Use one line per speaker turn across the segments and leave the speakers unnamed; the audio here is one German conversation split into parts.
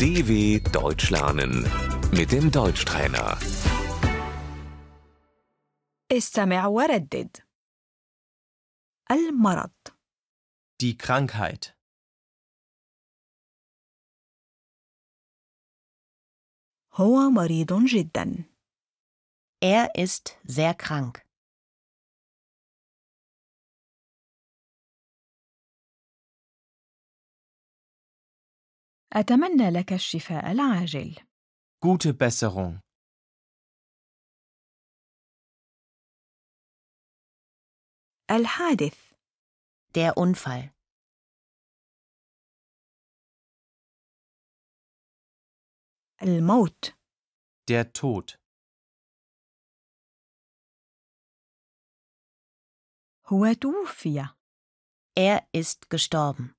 DW Deutsch lernen mit dem Deutschtrainer.
استمع وردد المرض
Die Krankheit.
هو مريض جدا
Er ist sehr krank.
أتمنى لك الشفاء العاجل
Gute Besserung.
الحادث
Der Unfall.
الموت
Der Tod.
هو توفي
Er ist gestorben.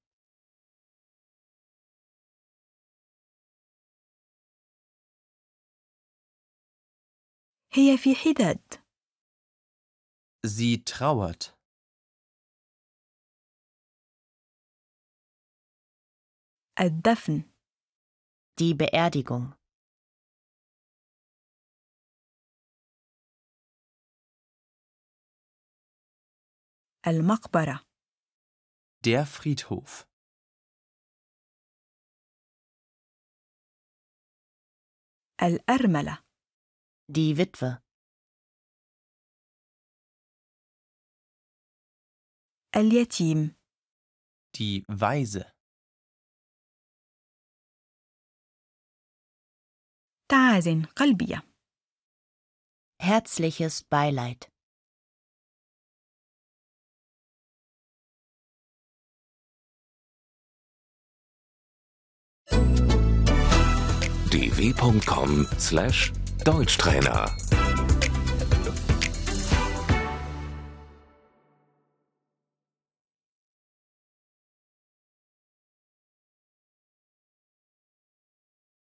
هي في حداد
Sie trauert.
الدفن
Die Beerdigung.
المقبرة
Der Friedhof.
الأرملة
Die Witwe.
اليتيم
Die Weise.
تعازن قلبية
Herzliches Beileid.
dw.com/deutschtrainer